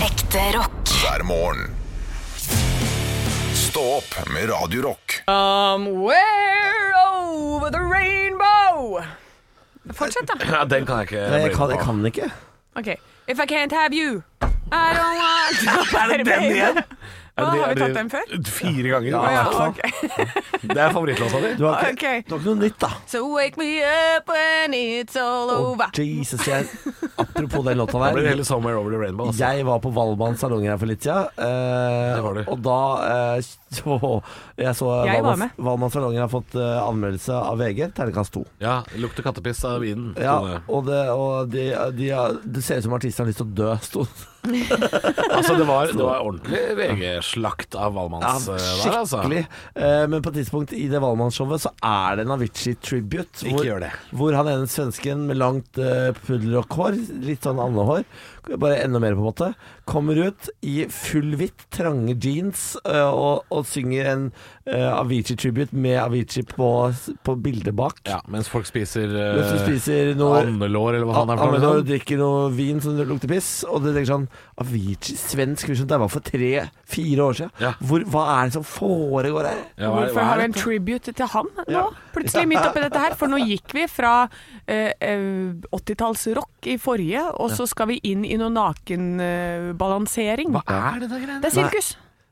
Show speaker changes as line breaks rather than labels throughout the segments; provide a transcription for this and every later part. Ekte rock.
hver morgen. Stå opp med Radio Rock.
Somewhere over the rainbow. Fortsett, da.
Ja, den kan jeg ikke
Nei,
bli
Eh, jeg kan,
med
jeg
på.
kan ikke.
Ok. If I can't have you, I don't want to
Er det den igjen?
Hva,
Er det-
har vi
er det-
tatt den før?
Fire ganger.
Ja, i hvert fall.
Det er favorittlåta di.
Du har ikke,
Ok.
du har ikke noe nytt, da.
So wake me up when it's all
Å,
over.
Jesus, jeg, apropos den låta
Da blir det
der.
hele 'Somewhere Over the Rainbow'. Altså.
Jeg var på Valmann salong her for litt siden. eh,
Det var du.
Og da eh, så Jeg så
Jeg var
Valmann-
med.
Valmann salong har fått eh, anmeldelse av VG, terningkast to.
Ja, lukter kattepiss av vinen.
Ja,
Tone.
og det, og de, de, det ser ut som artisten har lyst til å dø. Sto.
Altså, det var, det var ordentlig VG-slakt av
Ja,
Valmanns eh, der, altså.
skikkelig. Eh, Men på et tidspunkt i det Valmann-showet så er det en Avicii-tribute.
Ikke gjør det.
hvor han ene svensken med langt eh, puddelrockhår, litt sånn andehår, bare enda mer på en måte, kommer ut i full hvitt, trange jeans eh, og, og synger en eh, Avicii-tribute med Avicii på, på bildet bak.
Ja, mens folk spiser,
Mens du
eh,
spiser noe
andelår, eller hva faen det er for
Anmelder
noe. liksom.
og drikker noe vin som lukter piss, og du tenker sånn Avicii, svensk visjon, det var for tre-fire år siden.
Ja.
Hvor, hva er det som foregår her?
Ja, hva er-
Hvorfor
hva er
har vi en
dette?
tribute til han nå?
Ja.
Plutselig midt oppi dette her. For nå gikk vi fra eh, eh, 80-tallsrock i forrige, og så skal vi inn i noe nakenbalansering.
Hva er det der greiene?
det er sirkus.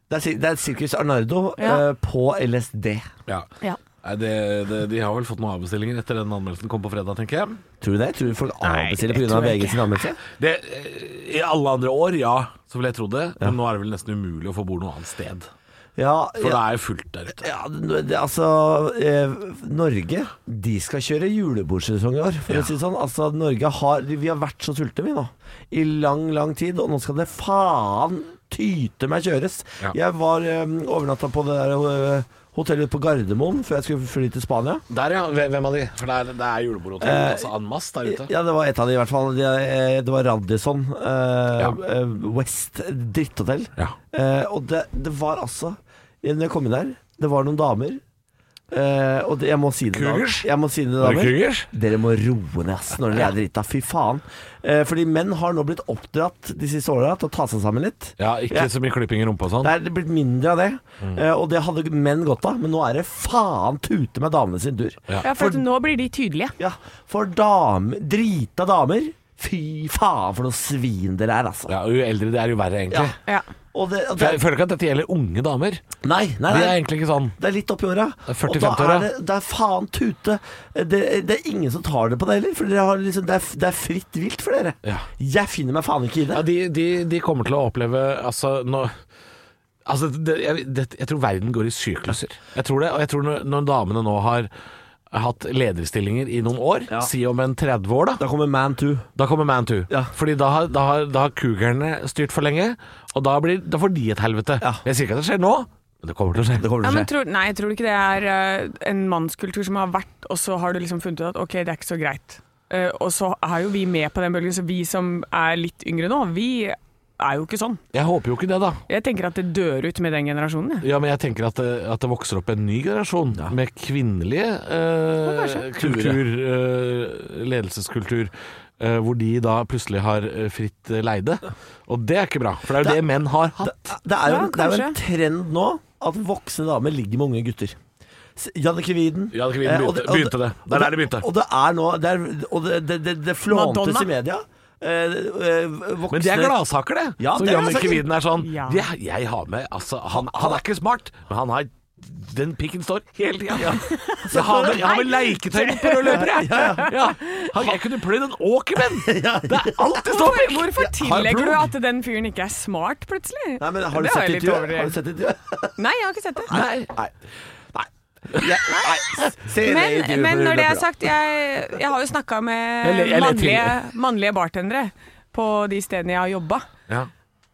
Det er, sir- det er Sirkus Arnardo
Ja.
eh, på LSD.
Ja.
Ja.
Nei, det, det, de har vel fått noen avbestillinger etter den anmeldelsen kom på fredag, tenker jeg.
Tror du det? Tror du folk
Nei,
avbestiller
det
pga.
tror jeg
VG sin anmeldelse?
Det, eh, I alle andre år, ja, så ville jeg trodd det. Men nå er det vel nesten umulig å få bord noe annet sted.
Ja,
For det
ja,
er jo fullt der ute.
ja det, det- altså eh, Norge de skal kjøre julebordsesong i år, for
Ja.
å si det sånn. Altså, Norge har Vi har vært så sultne, vi nå, i lang, lang tid, og nå skal det faen tyte meg kjøres.
Ja.
Jeg var eh, overnatta på det der eh, hotellet på Gardermoen før jeg skulle fly til Spania.
Der, ja. Hvem av de? For det er, det er julebordhotell.
Eh,
altså en masse der ute.
Ja, det var et av de i hvert fall. De, eh, det var Radisson eh,
Ja.
eh, West dritthotell.
Ja.
Eh, og det, det var altså Når jeg kom inn der, det var noen damer. Eh, og det, jeg må si det, da-
Cougars?
jeg må si det damer. Dere må roe ned ass, når dere er drita. Fy faen. Eh, fordi menn har nå blitt oppdratt de siste åra til å ta seg sammen litt.
Ja, ikke
Ja.
så mye klipping i rumpa og sånn.
Det er blitt mindre av det,
Mm.
eh, og det hadde menn godt av. Men nå er det faen tute med damene sin tur.
Ja.
Ja, for at nå blir de tydelige.
Ja, for damer Drita damer Fy faen for noe svin dere er altså
Ja, og jo eldre de er, jo verre, egentlig.
Ja.
Ja.
Og det, og
For
det,
jeg føler ikke at dette gjelder unge damer.
Nei, nei,
De er
nei
egentlig ikke sånn.
det er litt oppi åra. Og da
er 40-50 åra.
er det, det er faen tute. Det, det er ingen som tar det på det heller. For dere har liksom, det, er, det er fritt vilt for dere.
Ja.
Jeg finner meg faen ikke i det.
Ja, de, de, de kommer til å oppleve Altså, nå Altså, det, jeg, det, jeg tror verden går i sykluser. Jeg tror det, og jeg tror når, når damene nå har hatt lederstillinger i noen år,
Ja.
si om en 30 år, da,
Da kommer man to.
da kommer man to.
Ja.
Fordi da har, da, har, da har cougerne styrt for lenge, og da, blir, da får de et helvete.
Ja.
Jeg sier ikke at det skjer nå, men det kommer til å skje.
Det kommer
Ja,
til å
men
skje.
tror, nei, tror du ikke det er eh, en mannskultur som har vært, og så har du liksom funnet ut at ok, det er ikke så greit. Eh, og så er jo vi med på den bølgen, så vi som er litt yngre nå, vi er jo ikke sånn.
Jeg håper jo ikke det, da.
Jeg tenker at det dør ut med den generasjonen. jeg.
Ja, men jeg tenker at det, at det vokser opp en ny generasjon med kvinnelige eh, kultur, eh, ledelseskultur, eh, hvor de da plutselig har eh, fritt eh, leide. Og det er ikke bra, for det er jo det, menn har hatt.
Det er, jo,
Ja,
det er jo en trend nå at voksne damer ligger med unge gutter. S- Jannicke Widen.
Jannicke
Eh,
Widen
og
begynte, begynte det. Det er der det begynte.
Og det er nå det er, Og det, det, det, det flåntes
Madonna.
i media. Eh, eh, voksne
Men det er gladsaker, det.
Ja,
så
det er
Jannicke
gladsaker.
Widen er sånn
Ja.
«Ja, Jeg har med Altså, han, han er ikke smart, men han har den pikken står hele tida. Jeg har med, jeg har med leketøy mot rød løper, jeg. Ja. Han- Jeg kunne pløyd en åker, men! Det er alt det står
Hvorfor,
i!
hvorfor
har
tillegger du
blod.
at den fyren ikke er smart, plutselig?
Nei, men har du
Det var
sett
jeg litt
intervjuet?
overreagert.
Har du sett intervjuet?
Nei, jeg har ikke sett det.
Nei.
Nei. Nei. Ja, nei. Se det
Men,
intervjuet
men
på
når det er
Rødløpet, da.
sagt, jeg, jeg har jo snakka med
Jeg le- jeg ler
mannlige, mannlige bartendere på de stedene jeg har jobba.
Ja.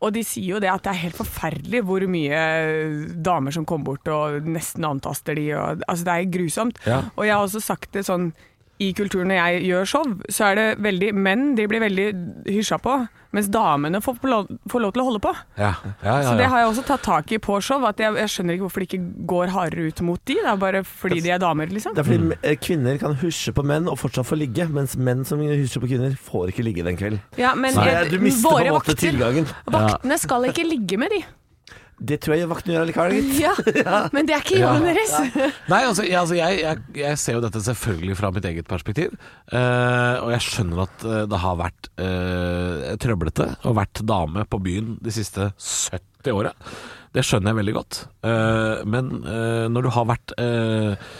Og de sier jo det at det er helt forferdelig hvor mye eh, damer som kommer bort og nesten antaster de. Og, altså det er grusomt.
Ja.
Og jeg har også sagt det sånn i kulturen når jeg gjør show, så er det veldig menn de blir veldig hysja på, mens damene får, på lov, får lov til å holde på.
Ja, ja,
Så
ja,
det
ja.
har jeg også tatt tak i på show. At jeg, jeg skjønner ikke hvorfor det ikke går hardere ut mot de. Det er bare fordi de er damer, liksom.
Det er fordi eh, kvinner kan husje på menn og fortsatt få ligge, mens menn som husjer på kvinner, får ikke ligge den kvelden.
Ja, men
Så
jeg-
du mister på
våre
en måte
vakter
tilgangen.
Vaktene skal ikke ligge med de.
Det tror jeg vaktene gjør allikevel, gitt.
Ja, Men det er ikke jobben deres.
Nei, altså, jeg, altså jeg, jeg, jeg ser jo dette selvfølgelig fra mitt eget perspektiv. eh, og jeg skjønner at eh, det har vært eh, trøblete å vært dame på byen de siste 70 åra. Det skjønner jeg veldig godt. Eh, men eh, når du har vært eh,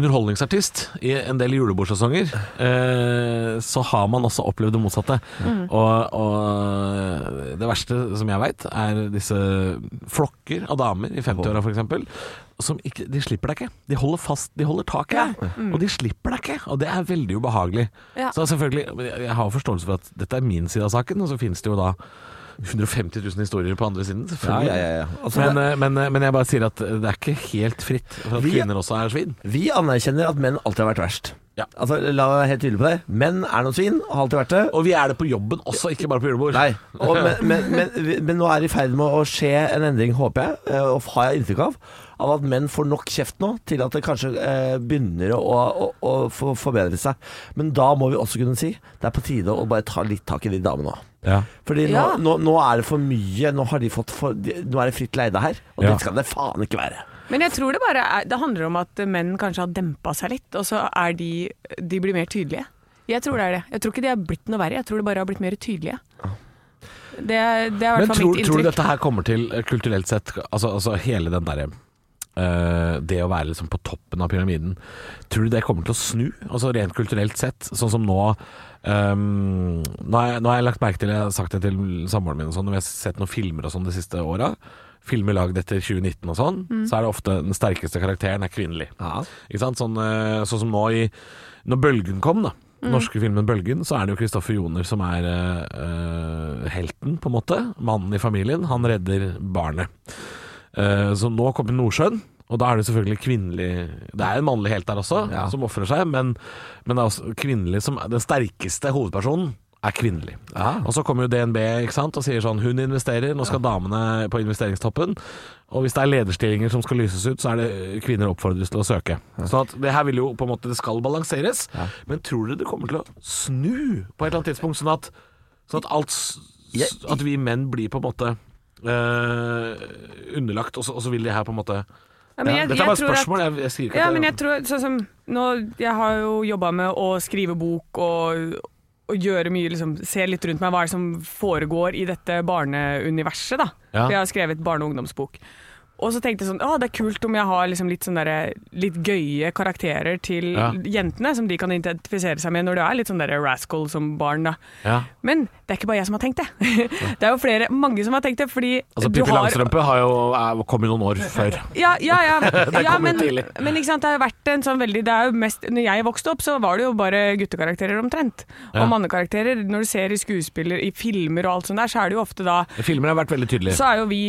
underholdningsartist i en del julebordsesonger, eh, så har man også opplevd det motsatte. Og, og eh, det verste som jeg veit, er disse flokker av damer i 50-åra f.eks. Som ikke, de slipper deg ikke. De holder fast, de holder tak i deg. Og de slipper deg ikke, og det er veldig ubehagelig.
Ja.
Så selvfølgelig, men jeg jeg har forståelse for at dette er min side av saken, og så finnes det jo da 150 000 historier på andre siden.
Ja,
selvfølgelig.
ja, ja, ja. Altså,
Men, eh, men, eh, men jeg bare sier at det er ikke helt fritt for at
Vi-
kvinner også er svin.
Vi anerkjenner at menn alltid har vært verst.
Ja.
Altså, La meg være helt tydelig på det. Menn er noen svin, har alltid vært det.
Og vi er det på jobben også, ikke bare på julebord.
Nei, og, men, men, men, men nå er det i ferd med å skje en endring, håper jeg, eh, og har jeg inntrykk av. Av at menn får nok kjeft nå til at det kanskje eh, begynner å, å, å få- forbedre seg. Men da må vi også kunne si det er på tide å bare ta litt tak i de damene òg.
Ja.
Fordi nå,
Ja.
nå, nå er det for mye. Nå, har de fått for, de, nå er det fritt leide her, og
Ja.
det skal det faen ikke være.
Men jeg tror det bare er, det handler om at menn kanskje har dempa seg litt, og så er de De blir mer tydelige. Jeg tror det er det. Jeg tror ikke de har blitt noe verre, jeg tror de bare har blitt mer tydelige. Det, er- det er i
Men
hvert fall
tror,
mitt
tror du
inntrykk.
dette her kommer til eh, kulturelt sett Altså, altså hele den derre eh, det å være liksom på toppen av pyramiden Tror du det kommer til å snu? Altså Rent kulturelt sett, sånn som nå ehm, nå, har jeg, nå har jeg lagt merke til Jeg har sagt det til samboeren min og sånn, og vi har sett noen filmer og sånn de siste åra. Filmer lagd etter 2019 og sånn, så er det ofte den sterkeste karakteren er kvinnelig. Ikke sant? Sånn, eh, sånn som nå i Når Bølgen kom, da. Den norske filmen Bølgen, så er det jo Kristoffer Joner som er eh, eh, helten, på en måte. Mannen i familien. Han redder barnet. Eh, så nå kommer Nordsjøen. Og da er det selvfølgelig kvinnelig Det er en mannlig helt der også,
Ja.
som ofrer seg, men, men det er også kvinnelig som Den sterkeste hovedpersonen er kvinnelig. Og så kommer jo DNB ikke sant, og sier sånn Hun investerer, nå skal damene på investeringstoppen. Og hvis det er lederstillinger som skal lyses ut, så er det eh, kvinner oppfordres til å søke. Så at det her vil jo på en måte Det skal balanseres. Men tror dere det kommer til å snu på et eller annet tidspunkt, sånn at, sånn at alt s-
Jeg-
s- At vi menn blir på en måte eh, underlagt, og så, og så vil de her på en måte
Ja, men
ja,
jeg-
Dette
jeg
er bare et
tror at-
spørsmål, jeg, jeg sier ikke
Ja,
at
men
det
jeg tror sånn som nå, Jeg har jo jobba med å skrive bok og, og gjøre mye liksom, Se litt rundt meg hva er det som foregår i dette barneuniverset, da.
Ja.
For jeg har skrevet barne- og ungdomsbok. Og så tenkte jeg sånn Å, det er kult om jeg har liksom litt, sånn derre- litt gøye karakterer til
Ja.
jentene, som de kan identifisere seg med når det er litt sånn derre rascal som barn, da.
ja.
Men det er ikke bare jeg som har tenkt det. det er jo flere, mange som har tenkt det, fordi
Altså
du
Pippi
har-
Langstrømpe har jo, er, kom jo noen år før.
ja, ja, ja. ja
kom
men,
litt tidlig.
men ikke sant, det har jo vært en sånn veldig det er jo mest, Når jeg vokste opp, så var det jo bare guttekarakterer omtrent.
Ja.
Og mannekarakterer. Når du ser i skuespiller, i filmer og alt sånt der, så er det jo ofte da
Filmer har vært veldig tydelige.
Så er jo vi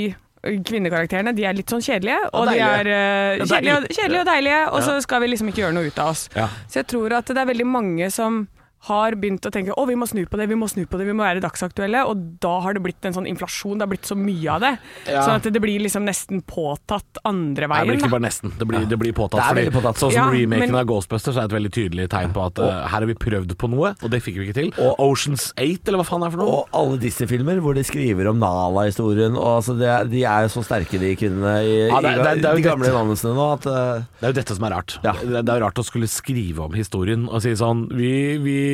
Kvinnekarakterene de er litt sånn kjedelige, og, de
deilige.
er eh,
Ja,
kjedelige,
deilige.
og, kjedelige og deilige, og så skal vi liksom ikke gjøre noe ut av oss.
Ja.
Så jeg tror at det er veldig mange som har begynt å tenke å vi må snu på det, vi må snu på det, vi må være dagsaktuelle. Og da har det blitt en sånn inflasjon, det har blitt så mye av det.
Ja.
Sånn at det blir liksom nesten påtatt andre
Nei,
veien.
det blir
da.
ikke bare nesten. Det blir, det blir
Det
påtatt.
er
fordi-
veldig påtatt.
Sånn som
Ja,
remaken
men-
av Ghostbusters er et veldig tydelig tegn på at eh, her har vi prøvd på noe, og det fikk vi ikke til.
Og-
Oceans 8, eller hva faen det er for noe.
Og alle Disney-filmer hvor de skriver om Nala-historien. Og altså det, er- de er jo så sterke, de kvinnene i,
Ja, det er- det er- det er jo
i de gamle
dette.
navnesene nå. At, eh,
Det er jo dette som er rart.
Ja.
Det, det er jo rart å skulle skrive om historien og si sånn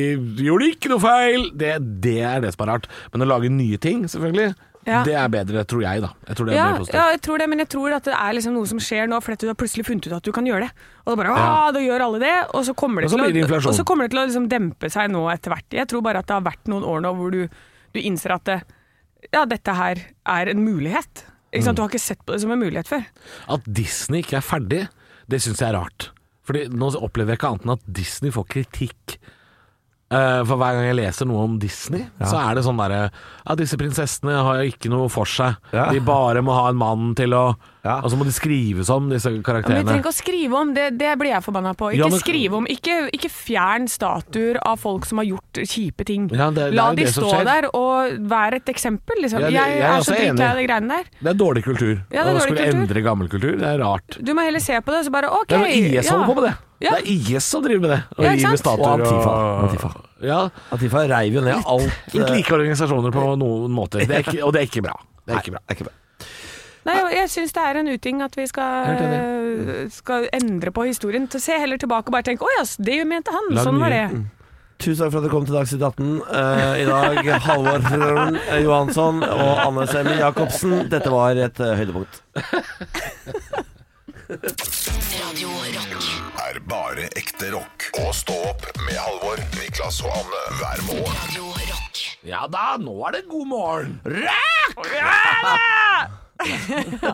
Vi, vi gjorde ikke noe feil! Det, det er det som er rart. Men å lage nye ting, selvfølgelig,
Ja.
det er bedre, tror jeg, da. Jeg tror det er
Ja,
mer positivt.
ja, jeg tror det, men jeg tror at det er liksom noe som skjer nå, fordi at du har plutselig funnet ut at du kan gjøre det. Og da bare, ah,
Ja.
da gjør alle det, og så kommer det,
Og så blir
til,
det
å,
inflasjon.
og så kommer det til å liksom dempe seg nå etter hvert. Jeg tror bare at det har vært noen år nå hvor du, du innser at det, ja, dette her er en mulighet. Ikke
Mm.
sant? Du har ikke sett på det som en mulighet før.
At Disney ikke er ferdig, det syns jeg er rart. Fordi nå opplever jeg ikke annet enn at Disney får kritikk Eh, For hver gang jeg leser noe om Disney, så er det sånn derre Ja, disse prinsessene har jo ikke noe for seg.
Ja.
De bare må ha en mann til å
Ja.
Og så må de skrives om, disse
Men vi
karakterene.
trenger ikke å skrive om det, det blir jeg forbanna på. Ikke
Ja, men-
skrive om, ikke, ikke fjern statuer av folk som har gjort kjipe ting.
Ja, det- det
La
er jo
de
det som
stå
skjer.
der og være et eksempel, liksom.
Ja, det-
Jeg,
jeg er
er så
også
drittlei
enig.
av de greiene der.
Det er dårlig kultur.
Ja, det er
Å
dårlig
skulle
kultur.
endre gammel kultur, det er rart.
Du må heller se på det, og så bare OK.
Det er jo IS som holder på med det.
Ja.
Det er IS som driver med det. Og
Ja, ikke
river
sant?
statuer
Og Antifa.
og-
Antifa.
Ja,
Antifa reiv jo ned alt
litt
eh,
like organisasjoner på noen måter. Det er ikke, og det er ikke bra. Det er ikke
Nei,
bra.
det er ikke bra.
Nei, jeg, jeg syns det er en uting at vi skal,
Helt
skal endre på historien. Så Se heller tilbake og bare tenk 'Å ja, det mente han'.
Lag
sånn var
nye. Mm.
det.
Tusen takk for at du kom til Dagsnytt 18. Eh, I dag Halvor eh, Johansson og Anne Semi Jacobsen. Dette var et eh, høydepunkt.
Radio Rock.
Er bare ekte rock. Og stå opp med Halvor, Niklas og Anne hver morgen.
Radio Rock.
Ja da, nå er det god morgen.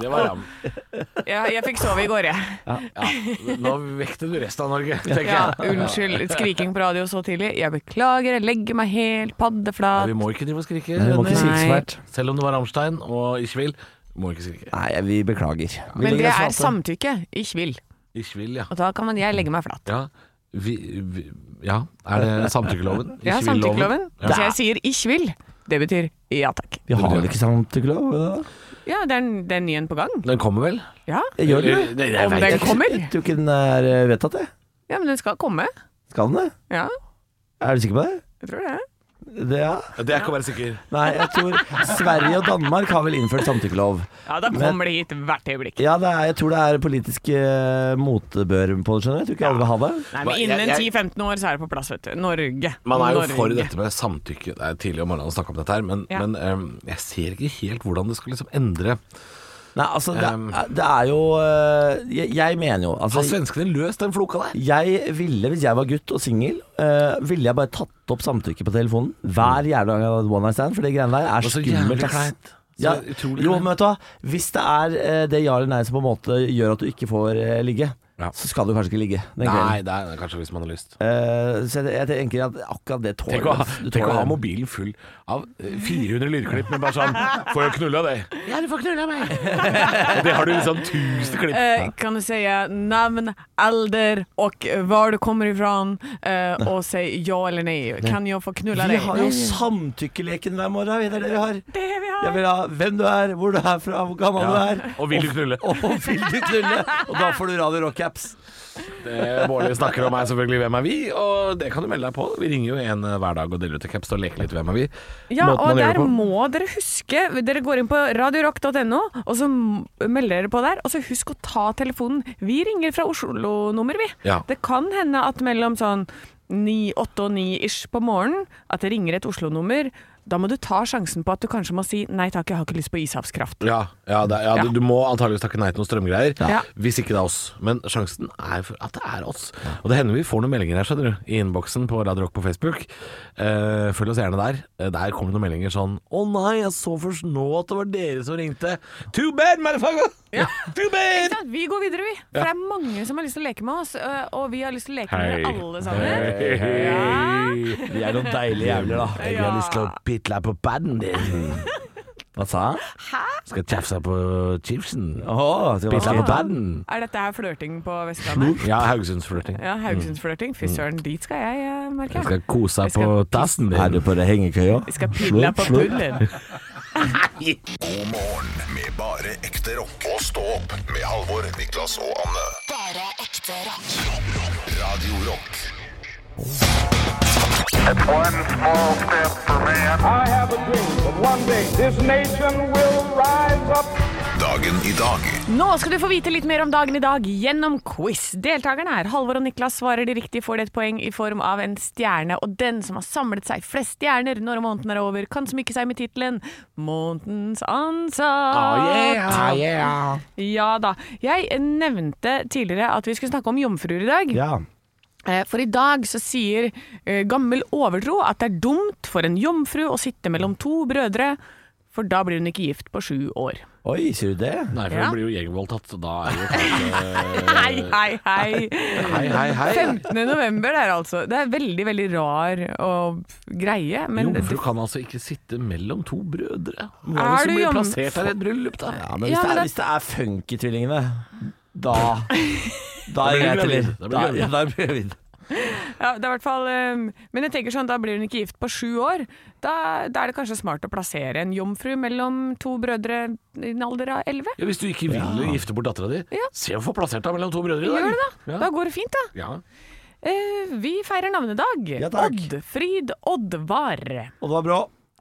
Det var ram.
Ja, jeg fikk sove i går, jeg.
Nå vekte du resten av Norge, tenker jeg.
Ja, unnskyld. Litt skriking på radio så tidlig. Jeg beklager, jeg legger meg helt
Ja,
paddeflat.
vi må ikke drive og skrike.
Nei, vi må ikke
Henning.
skrike så fælt.
Selv om det var Rammstein og Ichwil, må ikke skrike.
Nei, vi beklager. Vi
Men
legger
det
oss
er
flat.
samtykke. Ikke vil.
Ichwil, ja.
Og da kan man, jeg legge meg flat.
Ja, vi, vi, ja. er det samtykkeloven?
Ja,
Ichwil-loven?
samtykkeloven.
Ja.
Så jeg sier 'ikke vil'. Det betyr ja takk.
Vi har vel ikke samtykkelov? da?
Ja, det er, en- det er en ny en på gang.
Den kommer vel?
Ja.
Gjør den det?
Eh, Nei, jeg
Om
vet
den
ikke.
kommer.
Jeg tror ikke den er eh, vedtatt, jeg.
Ja, men den skal komme.
Skal den det?
Ja,
Er du sikker på det?
jeg tror det.
det ja.
Det er ikke å være sikker.
Nei, jeg tror Sverige og Danmark har vel innført samtykkelov.
Ja, da kommer det hit hvert øyeblikk.
Ja, det er, jeg tror det er politisk eh, motbør på det, skjønner du. Jeg tror ikke alle vil ha det.
Nei,
Hva,
men
jeg-
Innen
jeg-
10-15 år så er det på plass, vet du. Norge.
Man er jo
Norge.
for dette med samtykke. Det er tidlig om morgenen å snakke om dette her, men,
Ja.
men ehm, jeg ser ikke helt hvordan det skal liksom endre
Nei, altså, det,
Um.
er- det er jo eh, jeg, jeg mener jo
Har
altså,
svenskene løst den floka der?
Jeg ville, hvis jeg var gutt og singel, eh, ville jeg bare tatt opp samtykke på telefonen hver jævla gang jeg hadde one night stand, for det greiene der er
Og så
skummelt.
jævlig
ass.
kleint. Så
Ja,
utrolig
jo,
kleint.
men vet du hva, hvis det er eh, det ja eller nei som på en måte gjør at du ikke får eh, ligge,
Ja.
så skal du kanskje ikke ligge den
Nei,
kvelden.
det er kanskje hvis man har lyst.
Eh, så jeg, jeg tenker at akkurat det tåler
Tenk å, ha-
du
tenk å
tåler
ha
den.
mobilen full av eh, 400 lydklipp med bare sånn 'Får jeg knulla deg?' Ja, du får knulla meg. Og det har du liksom 1000 klipp.
Eh, kan du si navn, alder og hvor du kommer ifra, eh, og si ja eller nei. Kan jeg få knulla
Vi
deg?
har jo samtykkeleken hver morgen, vi. det er det vi har.
Det vi har.
Jeg vil ha hvem du er, hvor du er fra, hvor gammel du er.
Og vil du knulle?
Og vil du knulle? Og da får du Radio Rock-caps.
Det Bårdli snakker om er selvfølgelig 'Hvem er vi?', og det kan du melde deg på. Vi ringer jo en eh, hver dag og deler ut en caps og leker litt 'Hvem er vi?'
Ja,
Måten
og
man gjør
der
det på.
må dere huske Dere går inn på radiorock.no, og så m- melder dere på der. Og så husk å ta telefonen. Vi ringer fra Oslo-nummer, vi.
Ja.
Det kan hende at mellom sånn ni, åtte og ni ish på morgenen, at det ringer et Oslo-nummer. Da må du ta sjansen på at du kanskje må si nei takk, jeg har ikke lyst på ishavskraft.
Ja, ja, det, ja,
Ja.
Du, du må antageligvis takke nei til noen strømgreier.
Ja.
Hvis ikke det er oss. Men sjansen er for at det er oss. Og det hender vi får noen meldinger her, skjønner du. I innboksen på Radio Rock på Facebook. Eh, følg oss gjerne der. Eh, Der kommer det noen meldinger sånn Å nei, jeg så først nå at det var dere som ringte. Too bad, motherfucker! Too bad!
Ja, vi går videre, vi. For det er mange som har lyst til å leke med oss, øh, og vi har lyst til å leke med dere alle sammen.
Hei.
Vi er noen deilige jævler, da.
Jeg har lyst til å pitle på paden din.
Hva sa han?
Skal tjafse på chipsen.
Åh, skal
Pitle
man-
på paden.
Er dette her flørting på Vestlandet?
Ja, Haugesundsflørting.
Ja, Haugesundsflørting. Fy søren, dit skal jeg, øh, merker
Mm. Jeg
jeg.
skal kose
Jeg
på
skal-
tassen
er
din.
du på det hengekøya?
Vi skal pille på pullen.
God morgen med bare ekte rock. Og stå opp med Halvor, Niklas og Anne.
Bare ekte rock.
Radio Rock
One small step for man.
I have a dream that one day this nation will rise up.
Dagen i dag
Nå skal du få vite litt mer om dagen i dag gjennom quiz. Deltakerne er Halvor og Niklas. Svarer de riktig, får de et poeng i form av en stjerne. Og den som har samlet seg flest stjerner når måneden er over, kan smykke seg med tittelen Månedens ansatt.
Ah,
Ja da. Jeg nevnte tidligere at vi skulle snakke om jomfruer i dag.
Ja.
Eh, For i dag så sier eh, gammel overtro at det er dumt for en jomfru å sitte mellom to brødre For da blir hun ikke gift på sju år.
Oi, sier du det?
Nei, for
Ja.
hun blir jo gjenvoldtatt. så Da er det jo
Hei, hei, hei!
Hei, hei, hei.
15. Eh, november der, altså. Det er veldig, veldig rar og greie. Men
Jomfru kan altså ikke sitte mellom to brødre. Hva
Er
hvis
du
hun blir
jom-
plassert her i et bryllup, da?
Ja, men hvis,
Ja, men
det,
det-
er, hvis det er funky-tvillingene, da Da er
blir
jeg
du
til
gravid. Da blir du
Da,
gravid.
ja, da blir jeg gravid.
Ja, det er i hvert fall eh, Men jeg tenker sånn, da blir hun ikke gift på sju år. Da, da er det kanskje smart å plassere en jomfru mellom to brødre i en alder av elleve.
Ja, Hvis du ikke vil gifte bort dattera di,
Ja.
se å få plassert deg mellom to brødre i dag.
Gjør det, da. Da går det fint, da.
Ja.
Eh, vi feirer navnedag.
Ja, takk.
Oddfrid Oddvar.
Og det var bra.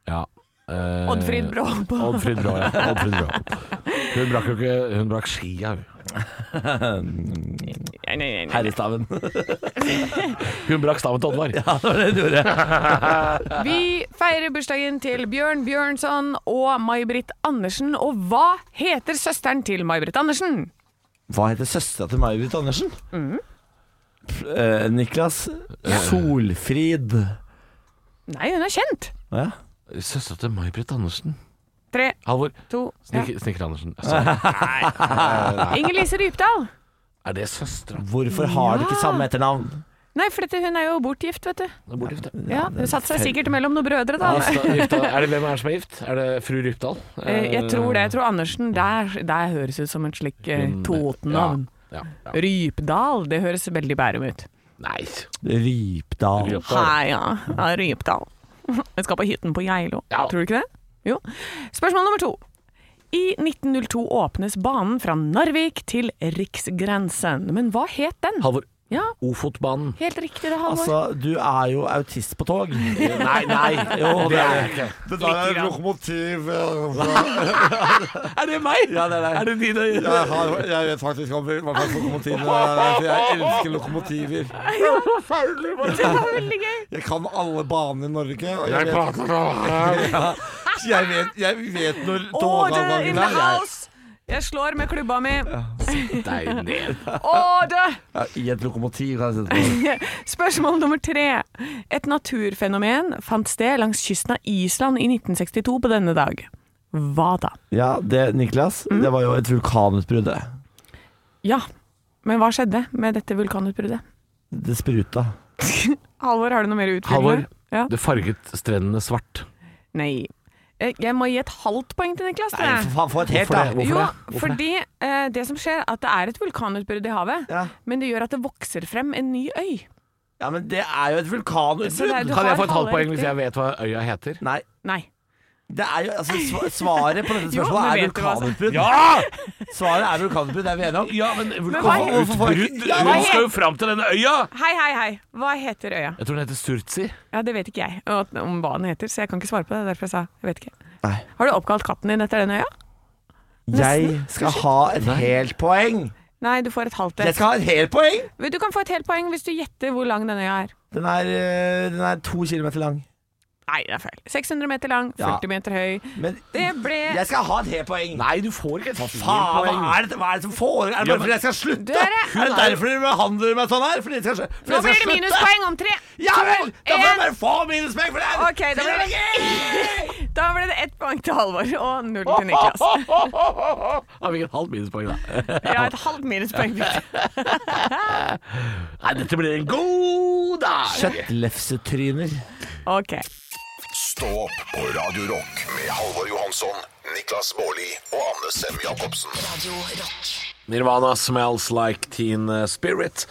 Ja. Eh,
Oddfrid Brå.
Oddfrid Brå, ja. Oddfrid Brå. Hun brakk jo ikke Hun brakk skia, hun.
Nei, nei, nei, nei.
Herrestaven.
Hun brakk staven til Oddvar.
Ja, det var det du gjorde.
Vi feirer bursdagen til Bjørn Bjørnson og May-Britt Andersen. Og hva heter søsteren til May-Britt Andersen?
Hva heter søstera til May-Britt Andersen? Pff, eh, Niklas Solfrid.
Nei, hun er kjent.
Ja.
Søstera til May-Britt Andersen.
Tre,
Halvor.
to ja.
Snik Snikker Andersen. Altså,
Inger Lise Rypdal.
er det søstera?
Hvorfor har de ikke samme etternavn?
Nei, for dette, hun er jo bortgift, vet du.
Hvor er det?
Ja, hun satte seg sikkert mellom noen brødre, da.
Altså, Rypdal- Er det hvem er det som er gift? Er det fru Rypdal?
Eh, Jeg tror det. Jeg tror Andersen Der, der høres ut som et slik eh, Toten-navn.
Ja,
Eh,
ja, ja.
Rypdal, det høres veldig Bærum ut.
Nei.
Rypdal.
Heia, ja, Rypdal. Jeg skal på hytten på Geilo.
Ja.
Tror du ikke det? Jo. Spørsmål nummer to. I 1902 åpnes banen fra Narvik til riksgrensen. Men hva het den?
Halvor.
Ja,
Ofotbanen.
helt riktig det, Halvor.
Altså, du er jo autist på tog.
Nei, nei.
Jo, det er
jeg ikke.
Det der er lokomotiv eh,
Er det meg?
Ja, det er det.
Er det dine øyne?
jeg, har, jeg vet faktisk om hva slags lokomotiv det er, for jeg elsker lokomotiver.
Det var veldig gøy.
Jeg kan alle banene i Norge. Og jeg, vet, jeg, vet, jeg vet når
Order in
togavgangen
the
er.
house! Jeg slår med klubba mi.
Deg ned.
Order!
Ja, I et lokomotiv kan jeg sette på.
Spørsmål nummer tre. Et naturfenomen fant sted langs kysten av Island i 1962 på denne dag. Hva da?
Ja, det, Niklas,
Mm.
det var jo et vulkanutbrudd. det.
Ja, men hva skjedde med dette vulkanutbruddet?
Det spruta.
Halvor, har du noe mer utfyllende?
Halvor.
Ja.
Det farget strendene svart.
Nei. Eh, Jeg må gi et halvt poeng til Niklas.
Nei, for faen, få et helt, da.
Hvorfor det? Hvorfor
jo,
det? Hvorfor det?
fordi eh, det som skjer er at det er et vulkanutbrudd i havet,
Ja.
men det gjør at det vokser frem en ny øy.
Ja, men det er jo et
Så det er-
vulkanutbrudd.
du
Kan jeg
har
få et halvt
halve
poeng hvis
riktig.
jeg vet hva øya heter?
Nei,
Nei.
det er jo altså, sva- svaret på dette
Jo,
spørsmålet
men
er
vet du hva altså? som-
vulkanutbrudd. Svaret er vulkanutbrudd, det er vi enige om.
Ja, men
vulkanutbrudd?
Utbrudd? Hun skal jo fram til denne øya!
Hei, hei, hei. Hva heter øya?
Jeg tror den heter Surtsi.
Ja, Det vet ikke jeg og at- om hva den heter, så jeg kan ikke svare på det. Derfor jeg sa jeg vet ikke.
Nei.
Har du oppkalt katten din etter den øya?
Jeg skal ha et helt poeng.
Nei, du får et halvt
Jeg
et.
skal ha et helt poeng!
Men Du kan få et helt poeng hvis du gjetter hvor lang denne øya er.
Den er, øh, den er to kilometer lang.
Nei, det er feil. 600 meter lang,
Ja.
40 meter høy.
Men
Det ble
jeg skal ha et helt poeng.
Nei, du får ikke et
Faen, hva er, det, hva er det som foregår? Er det bare fordi jeg skal slutte?
Dere-
er det derfor dere behandler meg sånn her? Fordi jeg skal, slu- fordi
Nå
jeg skal
blir det
slutte?
minuspoeng om tre!
Ja vel! Da får jeg
en.
bare få minuspoeng for det her.
Ok, da blir det, da ble det ett poeng til Halvor og null til Niklas.
Har vi ikke et halvt minuspoeng, da?
Ja, et halvt minuspoeng.
Nei, dette blir en god dag!
Kjøttlefsetryner.
Ok.
Stå opp på Radio Rock med Halvor Johansson, Niklas Baarli og Anne Sem Jacobsen.
Radio Rock.
Nirvana smells like teen spirit.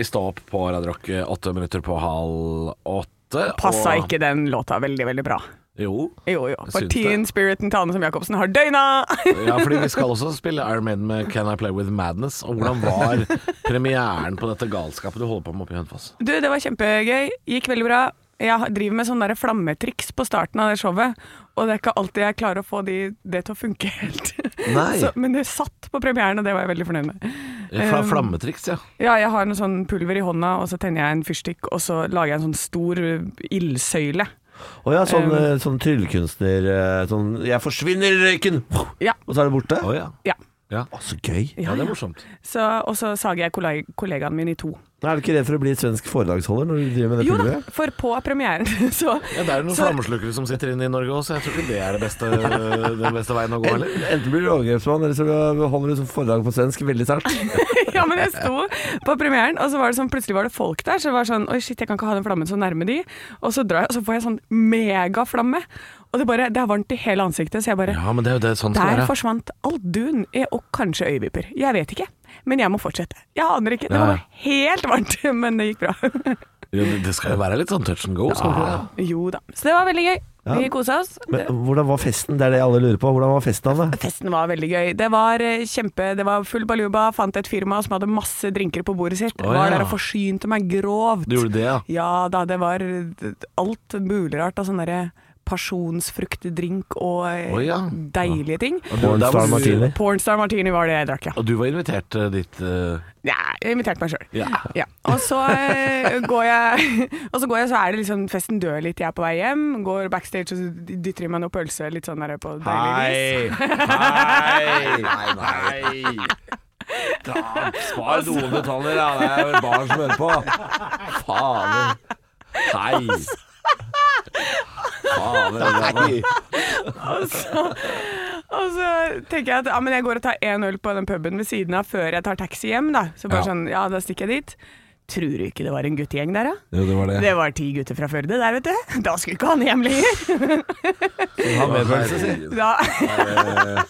I Stå opp på Radio Rock, eh, åtte minutter på halv åtte.
Passa
og-
ikke den låta veldig, veldig bra.
Jo.
Jo, jo. For
Syns det.
teen spiriten til Anne som Jacobsen har døgna!
Ja, fordi vi skal også spille Iron Maiden med Can I Play With Madness. Og hvordan var premieren på dette galskapet du holder på med oppe i Hønefoss?
Du, det var kjempegøy. Gikk veldig bra. Jeg driver med sånne der flammetriks på starten av det showet, og det er ikke alltid jeg klarer å få de, det til å funke helt.
Nei.
Så, men det satt på premieren, og det var jeg veldig fornøyd med.
Fra
Um,
flammetriks, ja.
Ja, jeg har noe sånn pulver i hånda, og så tenner jeg en fyrstikk, og så lager jeg en sånn stor uh, ildsøyle.
Å ja, sånn,
Um,
eh, sånn tryllekunstner eh, sånn, 'Jeg forsvinner i røyken!'
Ja.
Og så er det borte.
Å ja.
Ja.
Å, så gøy.
Ja, det er morsomt.
Så, og så sager jeg kolleg- kollegaen min i to.
Men Er du ikke redd for å bli svensk foredragsholder når du driver med det
Jo da,
pulveret?
for på premieren så
Ja, det er jo noen
Så-
flammeslukere som sitter inne i Norge også, så jeg tror ikke det er det beste, den beste veien å
Eh,
gå,
En-
heller.
Enten blir du overgrepsmann, eller så holder du som foredrag på svensk veldig sterkt.
Ja, men jeg sto på premieren, og så var det sånn, plutselig var det folk der, så det var sånn Oi, shit, jeg kan ikke ha den flammen så nærme de. Og så drar jeg, og så får jeg sånn megaflamme. Og det bare Det er varmt i hele ansiktet, så jeg bare
Ja, men det er jo det sånn skal
Der
være.
forsvant all dun, eh, og kanskje øyevipper. Jeg vet ikke, men jeg må fortsette. Jeg aner ikke. Det
Ja, ja.
var bare helt varmt, men det gikk bra.
Jo, det- Det skal jo være litt sånn touch and go. Skal det ikke det?
Jo da. Så det var veldig gøy. Vi kosa oss.
Men hvordan var festen? Det er det alle lurer på. Hvordan var festen, Anne?
Festen var veldig gøy. Det var eh, kjempe, det var full baluba. Fant et firma som hadde masse drinker på bordet sitt.
Å,
var
ja.
der og forsynte meg grovt.
Du gjorde det, ja.
Ja da, det var eh, alt mulig rart av sånn derre Pasjonsfruktdrink og eh,
Å, ja.
deilige ting.
Der var
Pornstar
du-
Martini.
Pornstar martini var det jeg drakk, ja.
Og du var invitert eh, dit eh,
Ja, jeg inviterte meg sjøl.
Ja.
Og så eh, går jeg, og så går jeg, så er det liksom festen dør litt, jeg er på vei hjem. Går backstage og så dytter i meg noe pølse litt sånn der på deilig vis.
Hei! Nei, Altså. nei. Da, spar noen detaljer, da. Det er jo barn som hører på. Fader. Hei. Fader. Nei.
Og så tenker jeg at ja, men jeg går og tar én øl på den puben ved siden av før jeg tar taxi hjem, da. Så bare sånn, ja, da stikker jeg dit. Tror du ikke det var en guttegjeng der, da?
Jo, det var det.
Det var ti gutter fra Førde der, vet du. Da skulle ikke han hjem lenger.
Ha medfølelse, si.
Da.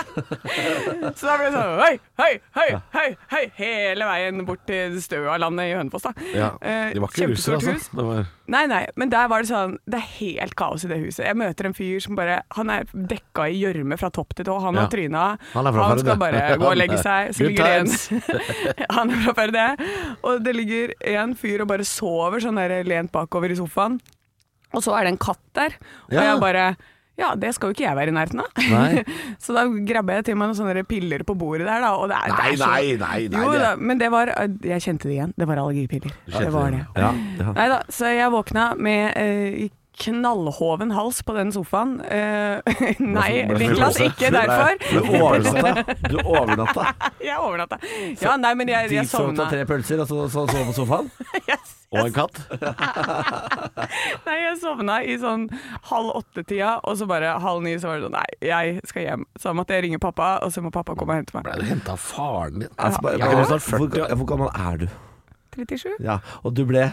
eh,
Så da ble det sånn hei, hei, hei, hei, hei, hele veien bort til Støalandet i Hønefoss, da.
Ja.
Eh,
De var ikke russere,
kjempestort hus.
altså. Det var...
Nei, nei, men der var det sånn Det er helt kaos i det huset. Jeg møter en fyr som bare Han er dekka i gjørme fra topp til tå. Han
Ja.
har tryna.
Han er fra Førde.
skal bare gå og legge seg. Så
Good
ligger
times.
det en Han er fra Førde. Og det ligger en fyr og bare sover sånn der lent bakover i sofaen. Og så er det en katt der. Og
Ja.
jeg bare ja, det skal jo ikke jeg være i nærheten av.
Nei.
så da grabba jeg til meg noen sånne piller på bordet der, da. Og det er, det er så...
nei,
Jo da, men det var Jeg kjente det igjen. Det var allergipiller. Det var det.
Ja,
Nei da, så jeg våkna med eh, knallhoven hals på den sofaen. Eh, nei,
Ble det
Niklas,
fibrose?
ikke derfor.
Du overnatta. Du overnatta.
Jeg overnatta. Ja, nei, men jeg, jeg
Deepsovna
sovna.
tre pølser og så så sove på sofaen?
Yes.
Og en katt.
Nei, jeg sovna i sånn halv åtte-tida, og så bare halv ni så var det sånn Nei, jeg skal hjem. Så måtte jeg ringe pappa, og så må pappa komme og hente meg.
Ble du henta av faren din?
Altså, bare,
Jeg er jo snart
hvor, ga- hvor gammel er du?
37.
Ja, Og du ble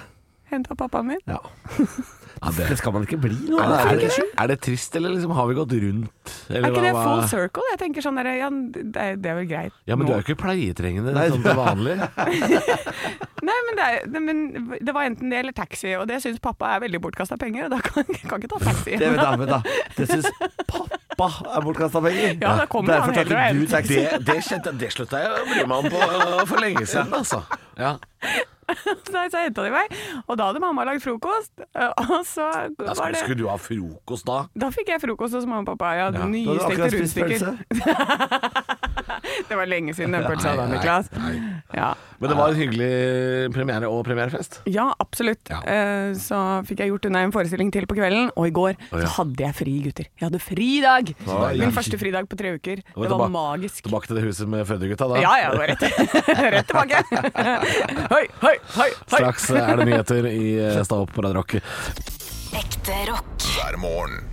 Henta pappaen min.
Ja.
det-
Det skal man ikke bli nå. er
Er det, er,
det ikke?
det, er det trist, eller liksom har vi gått rundt? Eller
Er ikke
hva-
det
hva-
full circle? Jeg tenker sånn der, ja, det, er- det er vel greit.
Ja, men du
nå.
er jo ikke pleietrengende
Nei,
sånn
du-
til vanlig.
Nei, men det, er, det, men det var enten det eller taxi, og det syns pappa er veldig bortkasta penger, og da kan kan ikke ta taxi.
Det vet jeg, vet jeg. Det syns pappa er bortkasta penger.
Ja, da kommer
Derfor
han
tar ikke
heller og
du
henter.
taxi.
Det, det, kjente, jeg- det slutta jeg å bry meg om på, uh, for lenge siden, altså. Ja.
Nei, så henta de meg, og da hadde mamma lagd frokost. eh, Og så
Da
var
skulle,
det
skulle du ha frokost da?
Da fikk jeg frokost hos mamma og pappa. Jeg hadde
Da hadde du
nystekte
akkurat spist
rundstykker.
pølse.
Det var lenge siden den pølsa da, Niklas. Ja,
Men det var en hyggelig premiere og premierefest.
ja absolutt.
Ja.
Eh, Så fikk jeg gjort unna en forestilling til på kvelden, og i går
Å, ja.
så hadde jeg fri, gutter. Jeg hadde fridag!
deilig.
Min første fridag på tre uker.
var
Det var
tilba-
magisk.
Tilbake til det huset med Føddergutta, da.
Ja, ja, det var rett, rett tilbake. Høy, høy, høy, høy.
Straks er det nyheter i eh, Stå opp på Radio Rock.
Ekte rock.
hver morgen.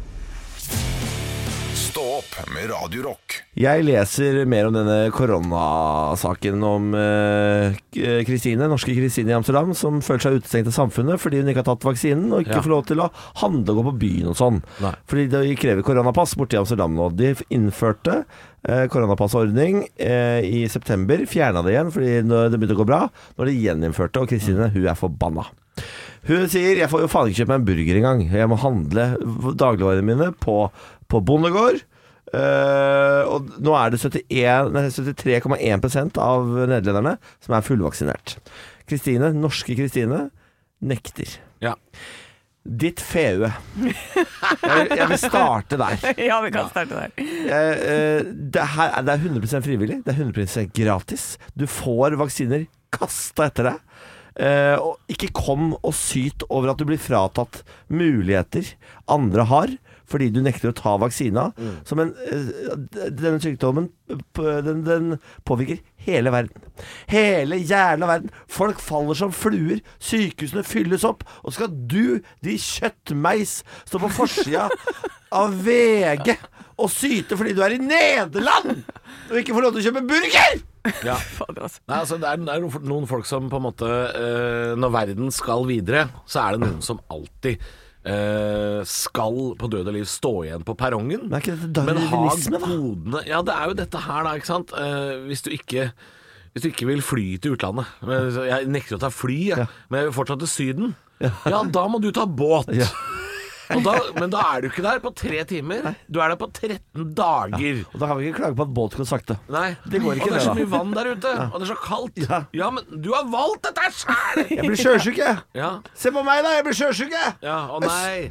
Stå opp med Radio Rock.
Jeg leser mer om denne koronasaken om eh, K- Kristine, norske Kristine i Amsterdam, som føler seg utestengt av samfunnet fordi hun ikke har tatt vaksinen og ikke
Ja.
får lov til å handle og gå på byen og sånn.
Nei.
Fordi de krever koronapass borte i Amsterdam nå. De innførte eh, koronapassordning eh, i september, fjerna det igjen fordi når det begynte å gå bra. Når de gjeninnførte, og Kristine hun er forbanna. Hun sier 'jeg får jo faen ikke kjøpe meg en burger engang'. Jeg må handle dagligvarene mine på, på bondegård. Eh, og nå er det 71 nei, 73,1 av nederlenderne som er fullvaksinert. Kristine, norske Kristine, nekter.
Ja.
Ditt feue. Jeg vil, jeg vil starte der.
Ja, vi kan starte der.
Jeg, eh, det, her, er- det er 100 frivillig. Det er 100 gratis. Du får vaksiner kasta etter deg. Eh, og ikke kom og syt over at du blir fratatt muligheter andre har fordi du nekter å ta vaksina. Som en, eh, d- denne sykdommen p- den, den påvirker hele verden. Hele jævla verden. Folk faller som fluer. Sykehusene fylles opp. Og så skal du, de kjøttmeis, stå på forsida av VG og syte fordi du er i Nederland og ikke får lov til å kjøpe burger!
Fader, altså.
Nei, altså, det er, det er noen- noen folk som på en måte eh, Når verden skal videre, så er det noen som alltid eh, skal på død og liv stå igjen på perrongen.
Men er ikke dette
Men ha
darwinisme, da?
godene Ja, det er jo dette her, da, ikke sant? Eh, hvis du ikke hvis du ikke vil fly til utlandet men så- Jeg nekter å ta fly, jeg, men jeg vil fortsatt til Syden. Ja, da må du ta båt.
Ja.
Og da, men da er du ikke der på tre timer. Du er der på 13 dager.
Og da kan vi ikke klage på at båt går sakte.
Nei.
Det går ikke
og det er så
det,
mye vann der ute, og det er så kaldt. Ja, men du har valgt dette sjæl!
Jeg blir sjøsjuk, jeg.
Ja.
Se på meg, da! Jeg blir sjøsjuk, jeg.
ja. Å nei.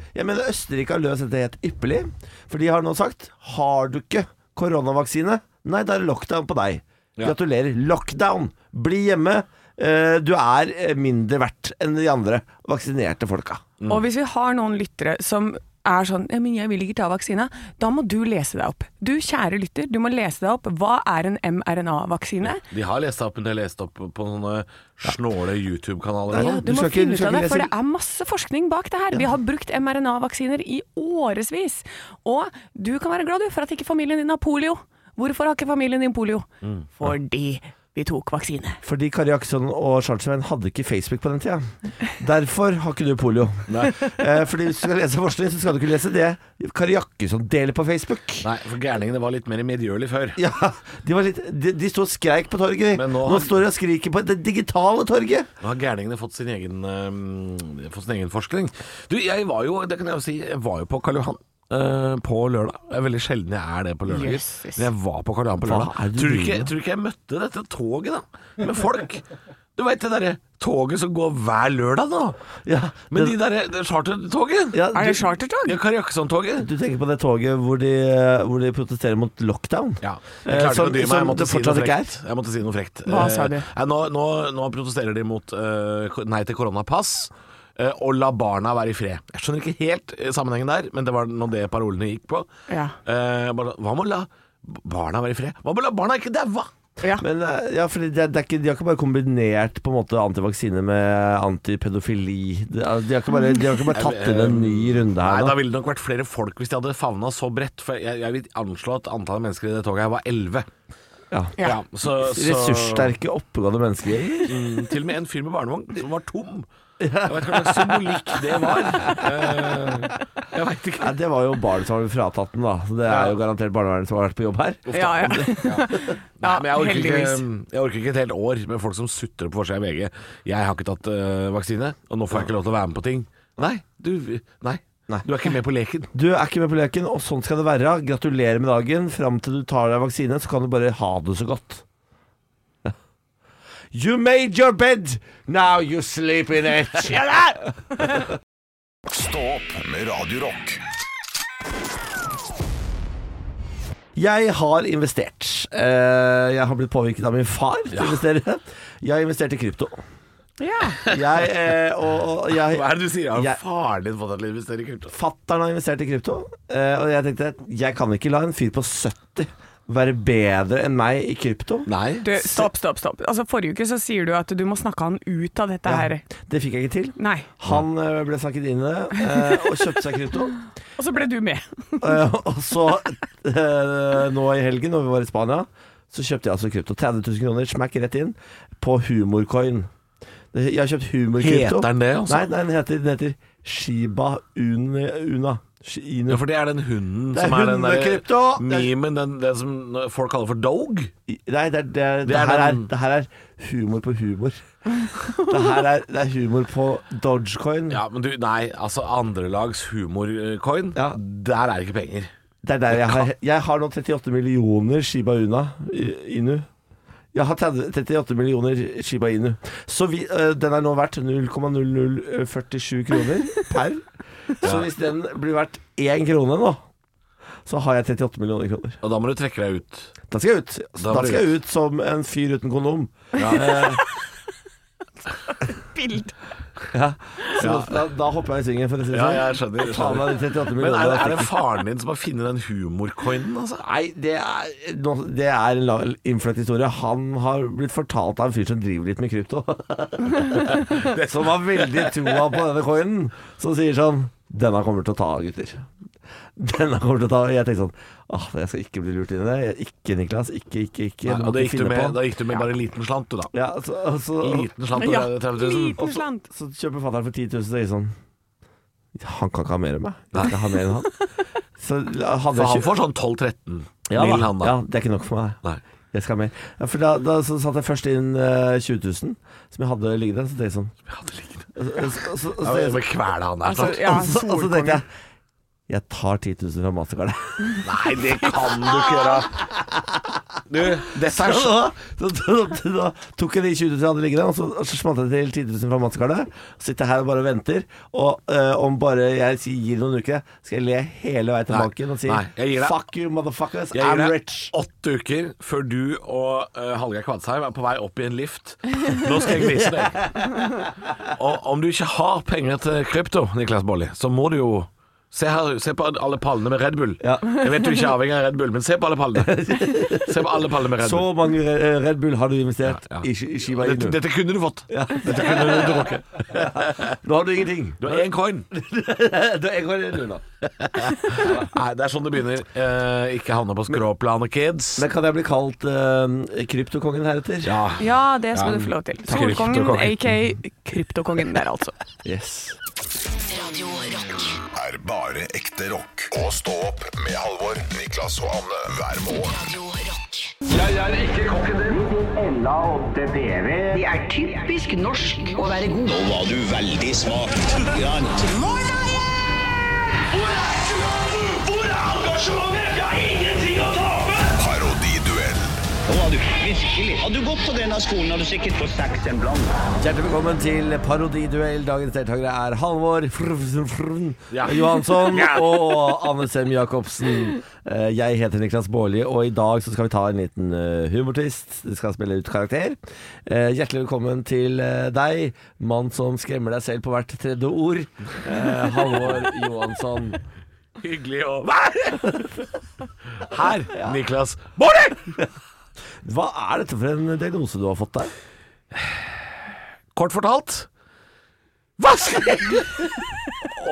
Øst- Jeg mener Østerrike har løst dette helt ypperlig. For de har nå sagt Har du ikke koronavaksine, nei, da er det lockdown på deg. Gratulerer. Lockdown! Bli hjemme. Eh, Du er eh, mindre verdt enn de andre vaksinerte folka.
Og hvis vi har noen lyttere som er sånn ja, men 'jeg vil ikke ta vaksina', da må du lese deg opp. Du kjære lytter, du må lese deg opp. Hva er en mRNA-vaksine?
De har lest opp, men de har lest opp på sånne snåle YouTube-kanaler. og
Ja,
sånn.
du,
Du
må
skal ikke- du
finne ut
skal
av
ikke
det, for det
lese-
er masse forskning bak det her. Vi har brukt mRNA-vaksiner i årevis. Og du kan være glad du for at ikke familien din har polio. Hvorfor har ikke familien din polio? Fordi vi tok vaksine.
Fordi Kari Jakkesson og Charlesveien hadde ikke Facebook på den tida. Derfor har ikke du polio. Eh, Fordi hvis du skal lese forskning, så skal du ikke lese det Kari Jakkesson deler på Facebook.
Nei, for gærningene var litt mer medgjørlige før.
Ja, de, var litt, de, de sto og skreik på torget. de.
Men
Nå,
nå-
står de og skriker på det digitale torget.
Nå har gærningene fått sin egen, eh, fått sin egen forskning. Du, jeg var jo, det kan jeg jo si, jeg var jo på Karl Johan. eh, på lørdag. Det er veldig sjelden jeg er det på lørdager.
Jesus.
Men jeg var på Karl Johan på
Hva
lørdag.
er det du
Tror du
driver
ikke,
med?
tror du ikke jeg møtte dette toget, da? Med folk. Du veit det derre toget som går hver lørdag nå?
Ja,
Men
det-
de derre det chartertoget?
Ja,
Er
du,
det chartertog?
Ja, Kari Jakkesson-toget?
du tenker på det toget hvor de, hvor de protesterer mot lockdown?
Ja.
Eh,
Jeg klarte ikke
som-
å dy meg.
som
Jeg måtte,
det
si noe
fortsatt ikke
frekt. jeg måtte si noe frekt.
Hva sa du?
Eh, nei, nå, nå, nå protesterer de mot eh, ko- nei til koronapass. eh, Og la barna være i fred. Jeg skjønner ikke helt eh, sammenhengen der, men det var nå det parolene gikk på.
Ja.
Eh, bare, hva med å la barna være i fred? Hva med å la barna ikke daue?
Ja.
Men, eh, ja, fordi det, er- det er ikke, De har ikke bare kombinert på en måte antivaksine med antipedofili. De, altså, de, har ikke bare, de har ikke bare tatt inn en ny runde
eh, Nei,
her
da
nå.
ville det nok vært flere folk hvis de hadde favna så bredt. For jeg, jeg vil anslå at antallet mennesker i det toget her var elleve.
Ja.
så, så-
Ressurssterke, oppegående mennesker.
Mm, til og med en fyr med barnevogn som var tom. Jeg vet ikke hva slags symbolikk det var. Eh, Jeg veit ikke.
Ja, det var jo barnet som var fratatt den, da. Så det er jo garantert barnevernet som har vært på jobb her.
Ja, ja.
Nei, men jeg orker,
heldigvis.
ikke, mm, jeg orker ikke et helt år med folk som sutrer på forsida av VG. Jeg har ikke tatt eh, vaksine, og nå får jeg ikke lov til å være med på ting. Nei, du, nei,
Nei.
du er ikke med på leken.
Du er ikke med på leken, og sånn skal det være. Gratulerer med dagen. Fram til du tar deg vaksine, så kan du bare ha det så godt. Ja. You made your bed, now you sleep in it.
Stå opp med Radio Rock.
Jeg har investert. Eh, jeg har blitt påvirket av min far til å investere. Jeg har investert i krypto. Jeg, eh, og, og jeg,
Hva er det du sier? Har
Jeg-
faren din fått deg til å investere i krypto?
Fatteren har investert i krypto, eh, og jeg tenkte at jeg kan ikke la en fyr på 70 være bedre enn meg i krypto.
Nei.
Du, stopp, stopp, stopp. Altså, forrige uke så sier du at du må snakke han ut av dette her.
Det fikk jeg ikke til.
Nei.
Han eh, ble snakket inn i det, eh, og kjøpte seg krypto.
Og så ble du med.
Eh, og så eh, nå i helgen, når vi var i Spania, så kjøpte jeg altså krypto. 30 000 kroner, smakk rett inn, på humorcoin. Det- Jeg har kjøpt humorkrypto.
Heter den det, altså?
Nei, nei den, heter, den heter Shiba Un Una. Shi- Inu.
Ja, for det er den hunden
Det er
som er den der
hundekrypto!
memen, den, den som folk kaller for dog.
Nei, det, er, det, er, det,
er
her er,
den-
det her er humor på humor. Det her er, det er humor på dogecoin.
Ja, men du, nei, altså andrelags humorcoin,
Ja.
der er det ikke penger.
Det er der jeg har Jeg har nå 38 millioner Shiba Una i- Inu. Jeg har 30 38 millioner Shiba Inu. Så vi, øh, den er nå verdt 0,0047 kroner per. Så hvis den blir verdt én krone nå, så har jeg 38 millioner kroner.
Og da må du trekke deg ut.
Da skal jeg ut.
Da
Da,
må du
skal jeg ut som en fyr uten kondom. Eh,
Bild.
Så da, da hopper jeg i svingen, for å si det
Ja,
sånn.
jeg skjønner.
Ta
skjønner.
meg de 38
Men er,
millionene.
det- er det faren din som har funnet den humorcoinen, altså?
Nei, det er, nå- det er en lang- innfløkt historie. Han har blitt fortalt av en fyr som driver litt med krypto. det som har veldig troa på denne coinen, som sier sånn Denne kommer til å ta, gutter. Denne kommer til å ta. Og jeg tenkte sånn Åh, jeg skal ikke bli lurt inn i det. Jeg- Ikke Niklas. Ikke, ikke, ikke. Jeg
Nei,
må
og da
ikke
gikk, du
finne
med,
på.
da gikk du med bare en liten slant, du da.
Ja, så, så,
Liten slant på
Ja,
30 000.
liten slant.
så kjøper fatter'n for 10 000, og sier sånn Han kan ikke ha mer enn meg. Jeg skal ha mer enn han. Så la- hadde
For
jeg
han
kjøpt-
får sånn 12-13
ja,
mil,
da.
han da.
ja, det er ikke nok for meg.
Nei.
Jeg skal mer. Ja, for da, da så satte jeg først inn eh, 20 000, som jeg hadde liggende. Så tenkte jeg sånn Og så- så-
Ja,
så-
men jeg må
så-
kvele han der
Altså,
snart.
ja,
og så- og så tenkte
solkongen.
jeg jeg tar 10 000 fra Mastercard.
Nei, det kan du ikke gjøre. Du, dette
Så,
er så
da- så, så, så da tok jeg de 20 000 jeg hadde liggende, og så, og så smalt jeg til 10 000 fra Mastercard. Sitter her og bare venter. Og eh, om bare jeg sier gir noen uker, skal jeg le hele veien til
Nei.
banken og si
Nei, jeg gir deg-
fuck you, motherfuckers,
jeg gir
I'm
deg
rich.
åtte uker før du og uh, Hallgeir Kvadsheim er på vei opp i en lift. Nå skal jeg vise deg. Og om du ikke har penger til krypto, Niklas Baarli, så må du jo Se her, se på alle pallene med Red Bull.
Ja.
Jeg vet du ikke er avhengig av Red Bull, men se på alle pallene. Se på alle pallene med Red Bull.
Så mange eh, Red Bull har du investert
Ja, ja.
i Shi- i Shiba
Dette,
Inu.
dette kunne du fått. Dette kunne du drukket.
Nå har du ingenting.
Du har én coin.
Da- Jeg går inn unna.
Nei, det er sånn det begynner. Eh, ikke havne på skråplanet, kids.
Men kan jeg bli kalt eh, kryptokongen heretter?
Ja.
Ja, det skal du få lov til. Solkongen,
Kryptokongen.
aka kryptokongen der, altså.
Yes.
Radio Rock.
er bare ekte rock. Og stå opp med Halvor, Niklas og Anne hver morgen.
Radio Rock.
Det er typisk norsk å være god. Nå var du veldig smak.
Parodiduell
Nå var du virkelig. Hadde du gått på denne skolen, hadde du sikkert fått seks en blant.
Hjertelig velkommen til Parodiduell. Dagens deltakere er Halvor frr, frr, frr,
Ja.
Johansson
Ja.
og Anne Sem Jacobsen. Eh, Jeg heter Niklas Baarli, og i dag så skal vi ta en liten eh, humortist. Du skal spille ut karakter. Eh, Hjertelig velkommen til eh, deg, mann som skremmer deg selv på hvert tredje ord. Eh, Halvor Johansson.
Hyggelig å være her, Niklas Baarli!
Hva er dette for en diagnose du har fått der?
Kort fortalt Vanskelig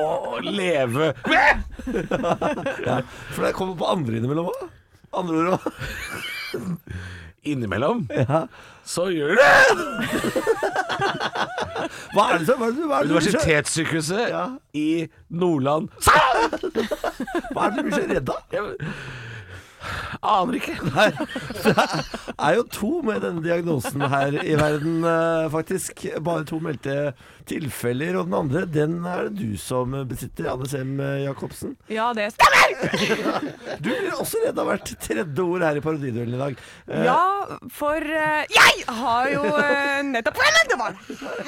å leve med!
For det kommer på andre innimellom òg. Andre ord òg.
Innimellom så gjør det
Hva er det som hva er det, hva er det, du blir så-
Universitetssykehuset
Ja.
i Nordland
hva er det du blir så redd av?
Jeg aner ikke.
Det er jo to med denne diagnosen her i verden, eh, faktisk. Bare to meldte tilfeller, og den andre, den er det du som besitter, Anne Sem Jacobsen.
Ja, det stemmer!
Du blir også redd av hvert tredje ord her i parodiduellen i dag. Eh,
Ja, for eh, jeg har jo eh, nettopp fremmet det var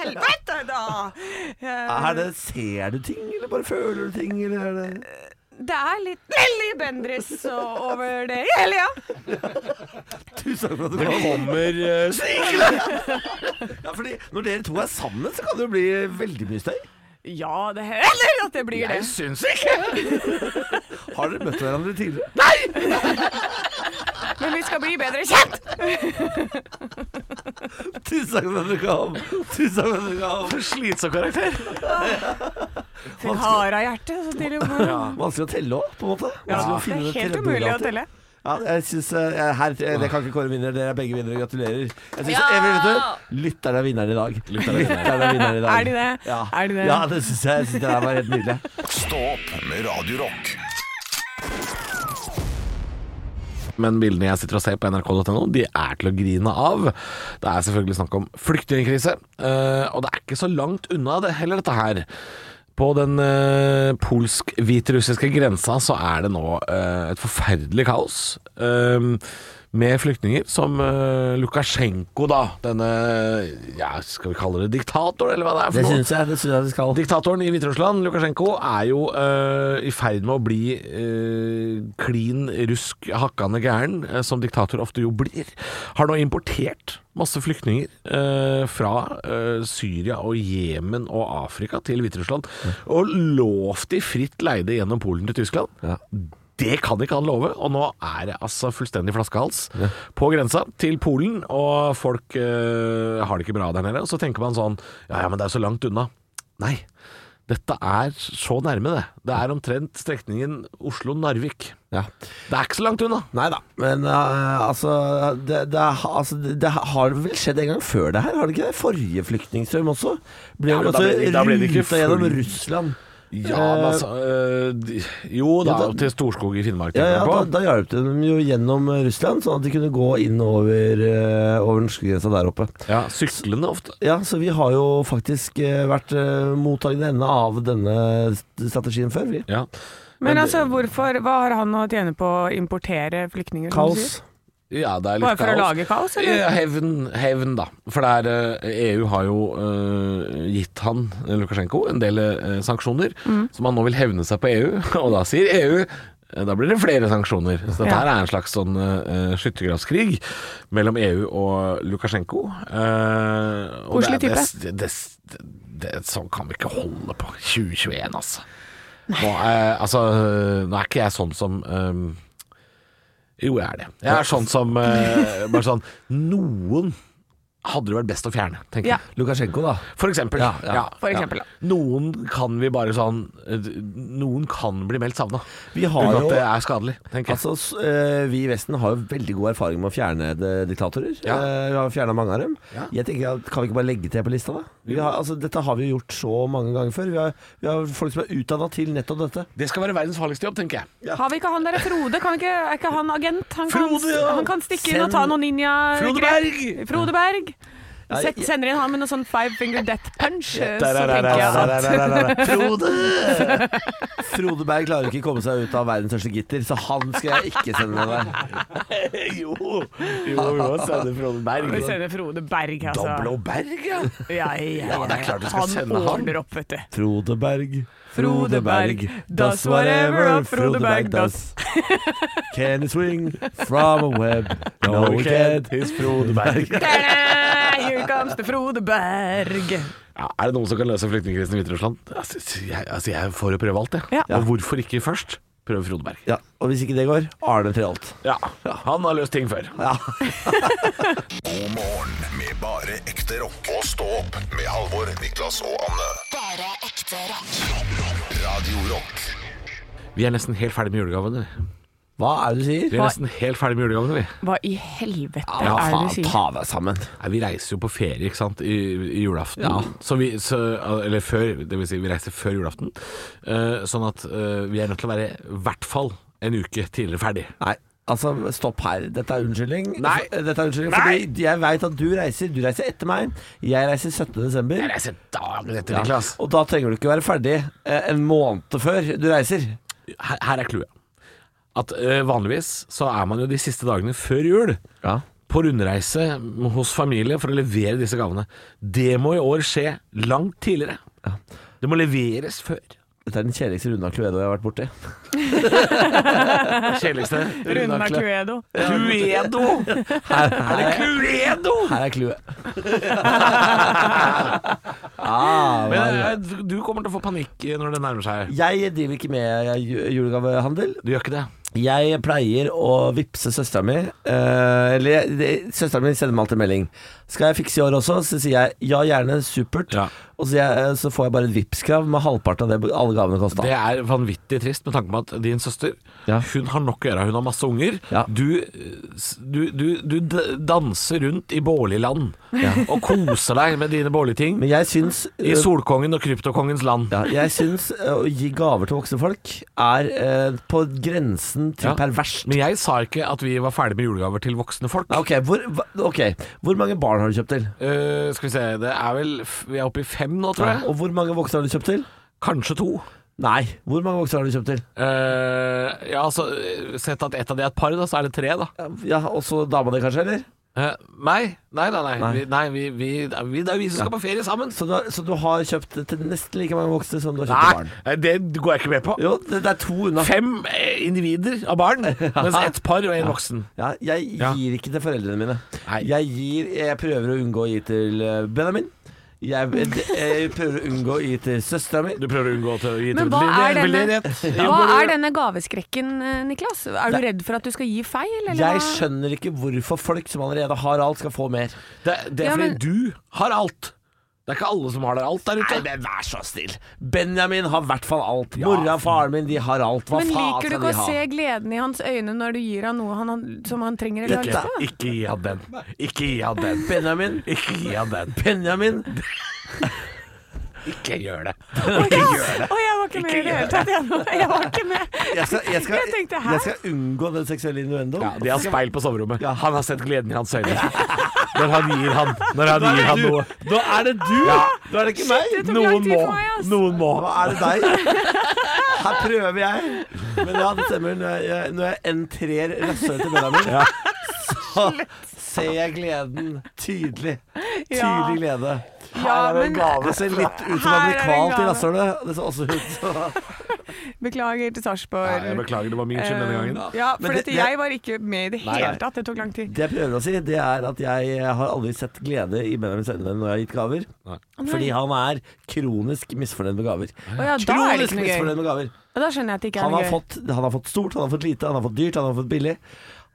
Helvete, da! Eh,
Er det Ser du ting, eller bare føler du ting, eller er det
det er litt Lilly Bendriss og- over det hele, ja.
Tusen takk for at du kom.
Kommer
eh, Ja, fordi når dere to er sammen, så kan det jo bli veldig mye støy.
Ja, det heller at det blir det.
Jeg syns ikke!
Har dere møtt hverandre tidligere?
Men vi skal bli bedre kjent!
Tusen takk for at du kom. Tusen takk for at du kom.
Slitsom karakter.
Fikk hard av hjertet. Så til og med.
Vanskelig å telle òg, på en måte.
Ja,
Vanskelig å
det
finne
er
det
helt
tredje
umulig Altså, å
ordet alltid.
telle.
Ja, jeg synes, eh, jeg- her, eh, det kan ikke kåre vinner. Dere er begge vinnere. Gratulerer. Jeg synes, jeg, vet du, lytteren er vinneren i dag. Lytteren er vinneren i dag.
Er de det?
Ja,
Er de det?
ja det syns jeg. jeg synes det her var helt nydelig.
Stå opp med Radio Rock
Men bildene jeg sitter og ser på nrk.no, de er til å grine av. Det er selvfølgelig snakk om flyktningkrise, eh, og det er ikke så langt unna det heller, dette her. På den eh, polsk-hviterussiske grensa så er det nå eh, et forferdelig kaos. eh, med flyktninger som eh, Lukasjenko, da. Denne ja, Skal vi kalle det diktator, eller hva det er? for
Det
noe?
syns jeg. Det synes jeg vi skal.
Diktatoren i Hviterussland, Lukasjenko, er jo øh, i ferd med å bli øh, eh, klin rusk hakkande gæren, øh, som diktatorer ofte jo blir. Har nå importert Masse flyktninger eh, fra eh, Syria og Jemen og Afrika til Hviterussland. Og lovt de fritt leide gjennom Polen til Tyskland. Det kan ikke han love, og nå er det altså fullstendig flaskehals på grensa til Polen. Og folk eh, har det ikke bra der nede. Og så tenker man sånn Ja ja, men det er så langt unna. Nei. Dette er så nærme, det. Det er omtrent strekningen Oslo-Narvik.
Ja.
Det er ikke så langt unna.
Nei da, men eh, altså, det, det, altså det, det har vel skjedd en gang før det her? Har det ikke det? Forrige flyktningstrøm også? Ble ja,
Ja, men da
altså,
ble det- da ble det ikke
ruta gjennom
full-
Russland.
Ja, men altså øh, de- Jo da,
Ja, da-
til Storskog i Finnmark.
Ja,
tenker
ja,
jeg
da,
på.
da hjalp det dem jo gjennom Russland, sånn at de kunne gå inn over, eh, over norskegrensa der oppe.
ja, Syklende ofte.
Ja, så vi har jo faktisk eh, vært eh, mottagende ende av denne st- strategien før, vi.
Ja.
Men altså,
eh,
hvorfor, hva har han å tjene på å importere flyktninger? som du
Kaos.
sier?
ja, det er litt
Bare for å
kaos.
lage kaos, eller?
Ja, hevn, hevn, da. For det er, eh, EU har jo eh, gitt han, eh, Lukasjenko, en del eh, sanksjoner
Mm.
som han nå vil hevne seg på EU. Og da sier EU eh, da blir det flere sanksjoner. Så dette
Ja.
her er en slags sånn eh, skyttergravskrig mellom EU og Lukasjenko. Eh, og
Koselig
det er- Det, det, det, det, sånn kan vi ikke holde på. 2021, altså. Nå er, altså, nå er ikke jeg sånn som eh, jo, jeg er det. Jeg er sånn som eh, Bare sånn Noen hadde det vært best å fjerne, tenker
Ja.
jeg.
Lukasjenko, da.
For eksempel.
Ja, ja.
For eksempel, da.
Noen kan vi bare sånn eh, Noen kan bli meldt savna.
Vi har
Uten at
jo-
det er skadelig, tenker jeg.
Altså, s- eh, Vi i Vesten har jo veldig god erfaring med å fjerne de- diktatorer.
Ja.
Eh, Vi har fjerna mange av dem.
Ja.
Jeg tenker at Kan vi ikke bare legge til på lista, da? Vi har, altså, dette har vi jo gjort så mange ganger før. Vi har, vi har folk som er utdanna til nettopp dette.
det skal være verdens farligste jobb, tenker jeg.
Har vi ikke han derre Frode? Kan ikke, er ikke han agent? Han kan,
Frode, ja.
han kan stikke inn
Send-
og ta noen ninja
Frode Berg!
Frode Berg.
Ja,
Sett,
jeg-
sender inn han med noe sånn five finger death punch, eh, så tenker jeg at
Frode! Frode Berg klarer ikke å komme seg ut av verdens største gitter, så han skal jeg ikke sende med deg.
jo, jo, jo, sende Frode
vi
Berg.
sender Frode Berg, altså.
Doblo Berg, ja.
Ja, ja,
Ja, det er klart du skal sende
Han
han.
ordner opp, vet du.
Frode Berg,
Frode Berg, does whatever a Frode Berg does.
Can he swing from a web? No, he can't.
His Frode Berg.
Ta-da! Here comes the Frode Berg.
Ja, er det noen som kan løse flyktningkrisen i Hviterussland? Altså, jeg, altså, jeg får jo prøve alt, jeg.
Ja.
Og hvorfor ikke først prøve Frode Berg?
Ja, og hvis ikke det går, Arne Treholt.
Ja, han har løst ting før.
God morgen med bare ekte rock. Og stå opp med Halvor, Niklas og Anne.
Bare ekte rock.
Radio Rock
Vi er nesten helt ferdig med julegavene.
Hva er det du sier?
Vi er nesten helt ferdig med julegavene, vi.
Hva i helvete
Ja,
er det
faen,
du sier?
ta deg sammen.
Nei, vi reiser jo på ferie, ikke sant, i, i julaften. Så vi, så, eller før, det vil si vi reiser før julaften. Eh, sånn at eh, vi er nødt til å være i hvert fall en uke tidligere ferdig.
Nei, altså, stopp her. Dette er unnskyldning. eh,
Nei.
Dette er unnskyldning,
Nei.
fordi jeg veit at du reiser. Du reiser etter meg. Jeg reiser 17. desember.
Jeg reiser dagen etter,
Ja,
Niklas.
Og da trenger du ikke være ferdig eh, en måned før du reiser.
Her, her er clouet. At eh, vanligvis så er man jo de siste dagene før jul
Ja.
på rundreise hos familie for å levere disse gavene. Det må i år skje langt tidligere. Det må leveres før.
Dette er den kjedeligste runden av Cluedo jeg har vært borti.
Kjedeligste.
Runda Cluedo.
Cluedo!
Her, her,
Er det
er-
Cluedo?
her er clouet.
Men eh, du kommer til å få panikk eh, når det nærmer seg.
Jeg driver ikke med eh, ju- julegavehandel.
Du gjør ikke det?
Jeg pleier å vippse søstera mi. eh, eller jeg- det- søstera mi sender meg alltid melding. Skal jeg fikse i år også? Så sier jeg ja, gjerne. Supert.
Ja.
Og så, sier jeg, eh, så får jeg bare et Vipps-krav med halvparten av det alle gavene kosta.
Det er vanvittig trist med tanke på at din søster
Ja.
Hun har nok å gjøre, hun har masse unger.
Ja.
Du, du, du, du d- danser rundt i Bårliland og koser deg med dine Bårli-ting.
Men jeg syns
I Solkongen og Kryptokongens land.
ja, jeg syns eh, å gi gaver til voksne folk er eh, på grensen til
Ja.
perverst.
Men jeg sa ikke at vi var ferdig med julegaver til voksne folk.
Ok, hvor, hva- ok, hvor mange barn har du kjøpt til?
Eh, skal vi se, det er vel f- Vi er oppe i fem nå, tror jeg.
Og hvor mange voksne har du kjøpt til?
Kanskje to.
Nei, hvor mange voksne har du kjøpt til?
Eh, ja, altså Sett at ett av de er et par, da, så er det tre, da.
Ja, Også dama di kanskje, eller?
Eh, nei, nei, nei, nei. Vi, nei vi, vi, det er vi, det er vi som skal på ferie sammen.
Så du, har, så du har kjøpt til nesten like mange voksne som du har kjøpt til barn?
Nei, eh, det går jeg ikke med på.
Jo, det, det er to unna.
Fem eh, individer av barn, mens ett par og en voksen.
Ja, jeg gir
Ja.
ikke til foreldrene mine.
Nei.
Jeg, gir, jeg prøver å unngå å gi til eh, Benjamin. Jeg, jeg prøver å unngå å gi til søstera mi.
Du prøver å unngå til å gi
Men
til
hva
Veldig-
er
veldig
denne,
rett.
hva er denne gaveskrekken, eh, Niklas? Er du redd for at du skal gi feil, eller
Jeg
hva?
skjønner ikke hvorfor folk som allerede har alt, skal få mer.
Det, det
Ja,
er fordi
men-
du har alt. Det er ikke alle som har det alt der ute.
men vær så snill. Benjamin har i hvert fall alt. Mora og faren min de har alt. Hva
Men
faen
liker du
skal
ikke
de
å
ha?
se gleden i hans øyne når du gir ham noe han, han- som han trenger eller har lyst på?
Ikke gi han den. Ikke gi han den.
Benjamin,
Ikke gi han den.
Benjamin
Ikke gjør det.
Å, jeg var ikke med i det hele tatt, jeg nå. Jeg var ikke med.
Jeg skal, jeg skal,
Jeg tenkte, hæ?
jeg skal unngå den seksuelle innuendoen.
Ja, de har speil på soverommet. Han har sett gleden i hans øyne. Når han gir han, når han gir han noe.
Da er det du!
Ja.
Da er det ikke meg!
Det tok lang
Noen
tid
må.
for meg, ass.
Noen må.
Hva er det deg? Her prøver jeg. Men ja, det stemmer. Når jeg, jeg, når jeg entrer rasshølet til Benjamin, så ser jeg gleden tydelig.
Ja.
Tydelig glede.
Ja,
Her er det
men-
en gave. Det ser litt ut som
Her
han
er det en
blir kvalt i
gave.
rasshølet. Det ser også ut som
Beklager til Sarpsborg.
Nei, jeg beklager, det var min skyld denne gangen.
Eh, Ja, for
Men det-
dette, jeg var ikke med i det
Nei, nei.
hele tatt. Det tok lang tid.
Det jeg prøver å si, det er at jeg har aldri sett glede i Benjamins øyne når jeg har gitt gaver. Fordi han er kronisk misfornøyd med gaver.
Å ja, da er det
Kronisk
ikke noe gøy.
misfornøyd med gaver.
Ja, Da skjønner jeg at det ikke er
Han
noe
har,
gøy.
fått, han har fått stort, han har fått lite, han har fått dyrt, han har fått billig.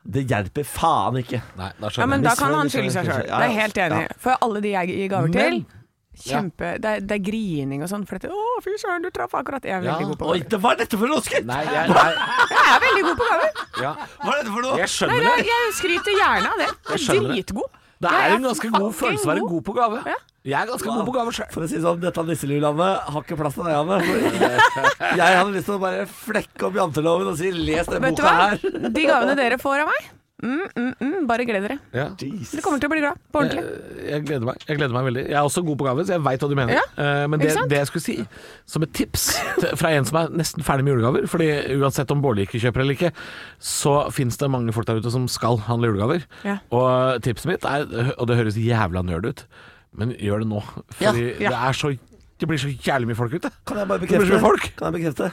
Det hjelper faen ikke.
Nei, da
Ja, men da kan
Misfornøyd,
han skylde seg
misfornøyd,
sjøl. Det er
misfornøyd.
jeg helt
Ja, ja.
enig. i. For alle de jeg gir gaver til
Men-
Kjempe, det, er, det er grining og sånn. For dette, 'Å, fy søren, du traff akkurat.' Jeg er
Ja.
veldig god på
Oi,
gaver.
det var dette for noe, Skutt!
Nei, jeg, nei,
Jeg er veldig god på gaver.
ja.
Hva er dette for noe?
jeg skjønner
Nei,
det.
jeg, jeg skryter gjerne av det. Jeg er
skjønner det.
dritgod.
Det
Jeg
er en ganske god
fucking
følelse å være god på gave. Jeg er ganske god på gave sjøl.
For å si det sånn, dette nisselulandet har ikke plass til deg, Anne. For jeg, jeg hadde lyst til å bare flekke opp janteloven og si 'les den
Vet du
boka
hva?
her'.
De gavene dere får av meg, mm, mm, mm, bare gled dere. Dere kommer til å bli glad. På ordentlig.
Jeg gleder meg jeg gleder meg veldig. Jeg er også god på gave, så jeg veit hva du mener.
Ja,
Eh, Men det,
ikke sant?
det jeg skulle si, som et tips til- fra en som er nesten ferdig med julegaver Fordi uansett om Bårli ikke kjøper eller ikke, så fins det mange folk der ute som skal handle julegaver.
Ja.
Og tipset mitt er, og det høres jævla nerd ut, men gjør det nå. Fordi
Ja.
det er så det blir så jævlig mye folk ute.
Kan jeg bare
blir så mye folk.
bekrefte? Kan jeg bekrefte?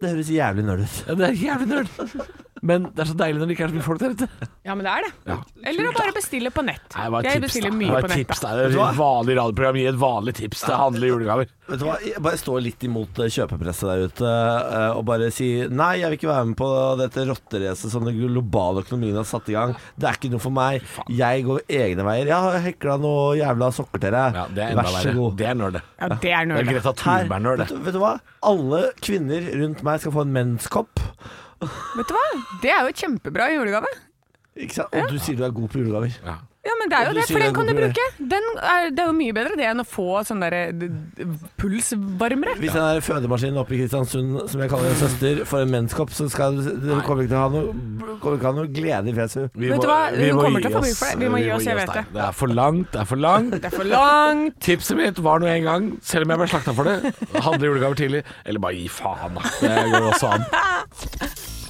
Det høres jævlig nerd ut.
Ja, Det er jævlig nerd. Men det er så deilig når det ikke er så mye folk der ute.
Ja, men det er det. Eller å bare bestille på nett.
Nei, hva er
jeg
tips,
bestiller
da? Hva
mye
er
på nett.
tips,
da.
da? Det er
Vet du
et vanlig radioprogram. Gi et vanlig tips til handle julegaver.
Vet du hva, jeg Bare stå litt imot eh, kjøpepresset der ute eh, og bare si nei, jeg vil ikke være med på dette rotteracet som den globale økonomien har satt i gang. Det er ikke noe for meg. Jeg går egne veier. Jeg har hekla noe jævla sokker til deg.
Ja, det er enda
Vær så
verre.
god.
Det er nerd, det.
Ja, det er
Det er
nerd.
Greta
Her,
Thunberg-nerd,
vet,
det.
du- vet du hva? Alle kvinner rundt meg skal få en menskopp.
Vet du hva? Det er jo et kjempebra julegave.
Ikke sant? Og du sier du er god på julegaver.
Ja, men det er
Og
jo
du
det,
sier
for den
det
kan du
er god
bruke. Den er, det er jo mye bedre det enn å få sånn derre d- d- pulsvarmere.
Hvis den der fødemaskinen oppe i Kristiansund, som jeg kaller en søster, får en menskopp, så skal, du kommer ikke til å ha noe, kommer ikke til å ha noe glede i fjeset.
Vi
Vet du
må-
hva?
vi
Hun
må
kommer
gi
til å få bruk for det. Vi må gi oss, jeg vet
der.
det.
Det er for langt, det er for langt.
Det er for langt.
Tipset mitt var nå en gang, selv om jeg ble slakta for det, handle julegaver tidlig. Eller bare gi faen, da. Det går også an.